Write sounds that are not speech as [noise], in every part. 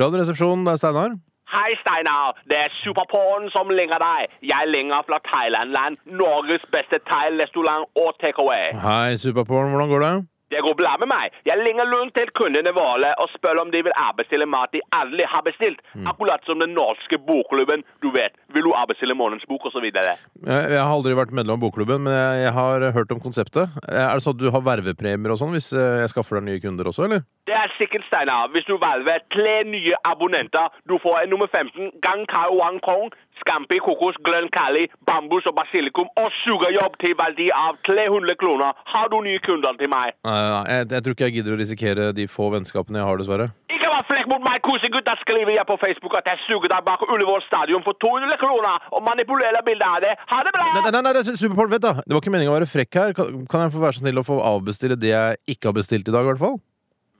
Radioresepsjonen, det er Steinar. Hei, Steinar. Det er Superporn som ringer deg. Jeg ringer fra Thailand-land. Norges beste thai-restaurant og takeaway. Hei, Superporn, hvordan går det? Det går bra med meg. Jeg ringer rundt til kundene våre og spør om de vil avbestille mat de aldri har bestilt. Akkurat som den norske bokklubben. Du vet, vil du avbestille månedens bok, og så videre. Jeg, jeg har aldri vært medlem av bokklubben, men jeg, jeg har hørt om konseptet. Er det sånn at du har vervepremier og sånn hvis eh, jeg skaffer deg nye kunder også, eller? Det er sikkert, Steinar. Hvis du velger tre nye abonnenter, du får en nummer 15, Gang Kai Wang Kong, Scampi Kokos, Grønn Kali, Bambus og Basilikum og sugerjobb til verdi av 300 kroner. Har du nye kunder til meg? Nei, nei, nei, jeg, jeg tror ikke jeg gidder å risikere de få vennskapene jeg har, dessverre. Ikke vær flekk mot meg, kosegutt. Da skriver jeg på Facebook at jeg suger deg bak Ullevål stadion for 200 kroner og manipulerer bildet av det. Ha det bra! Nei, nei, nei, nei Superporn, vent da! Det var ikke meningen å være frekk her. Kan, kan jeg få være så snill å få avbestille det jeg ikke har bestilt i dag, i hvert fall?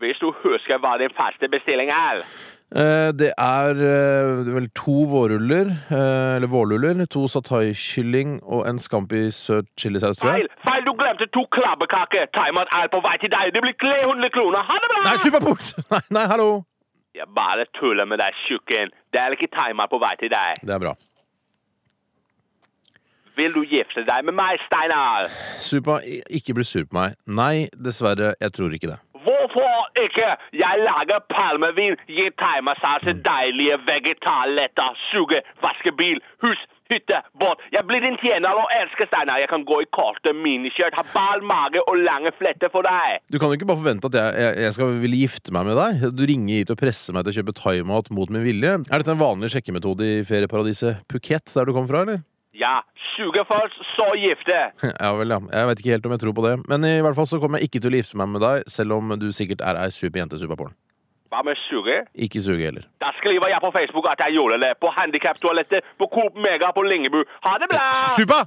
Hvis du husker hva din faste bestilling er. Eh, Det er eh, vel to vårruller, eh, eller vårruller, to satai-kylling og en scampi søt chilisaus, tror Feil, jeg. feil, du glemte to krabbekaker. Timeout er på vei til deg. Det blir 300 kroner. Ha det bra! Nei, superport! [laughs] Nei, nei, hallo! Jeg bare tuller med deg, tjukken. Det er ikke timer på vei til deg. Det er bra. Vil du gifte deg med meg, Steinar? Supa, i- ikke bli sur på meg. Nei, dessverre, jeg tror ikke det. Hvorfor ikke? Jeg lager palmevin, gir timersaus til deilige vegetarletter, suger, vasker bil, hus, hytte, båt. Jeg blir din tjener og elsker Steinar. Jeg kan gå i korte miniskjørt, ha ball mage og lange fletter for deg. Du kan jo ikke bare forvente at jeg, jeg, jeg skal ville gifte meg med deg. Du ringer hit og presser meg til å kjøpe thaimat mot min vilje. Er dette en vanlig sjekkemetode i ferieparadiset Phuket, der du kom fra, eller? [laughs] Ja, suge først, så gifte. Ja vel, ja. Jeg vet ikke helt om jeg tror på det. Men i hvert fall så kommer jeg ikke til å gifte meg med deg, selv om du sikkert er ei super jente, Superporn. Hva med suge? Ikke suge heller. Da skriver jeg på Facebook at jeg gjorde det. På handikaptoalettet, på Coop Mega på Lingebu. Ha det bra! Supa!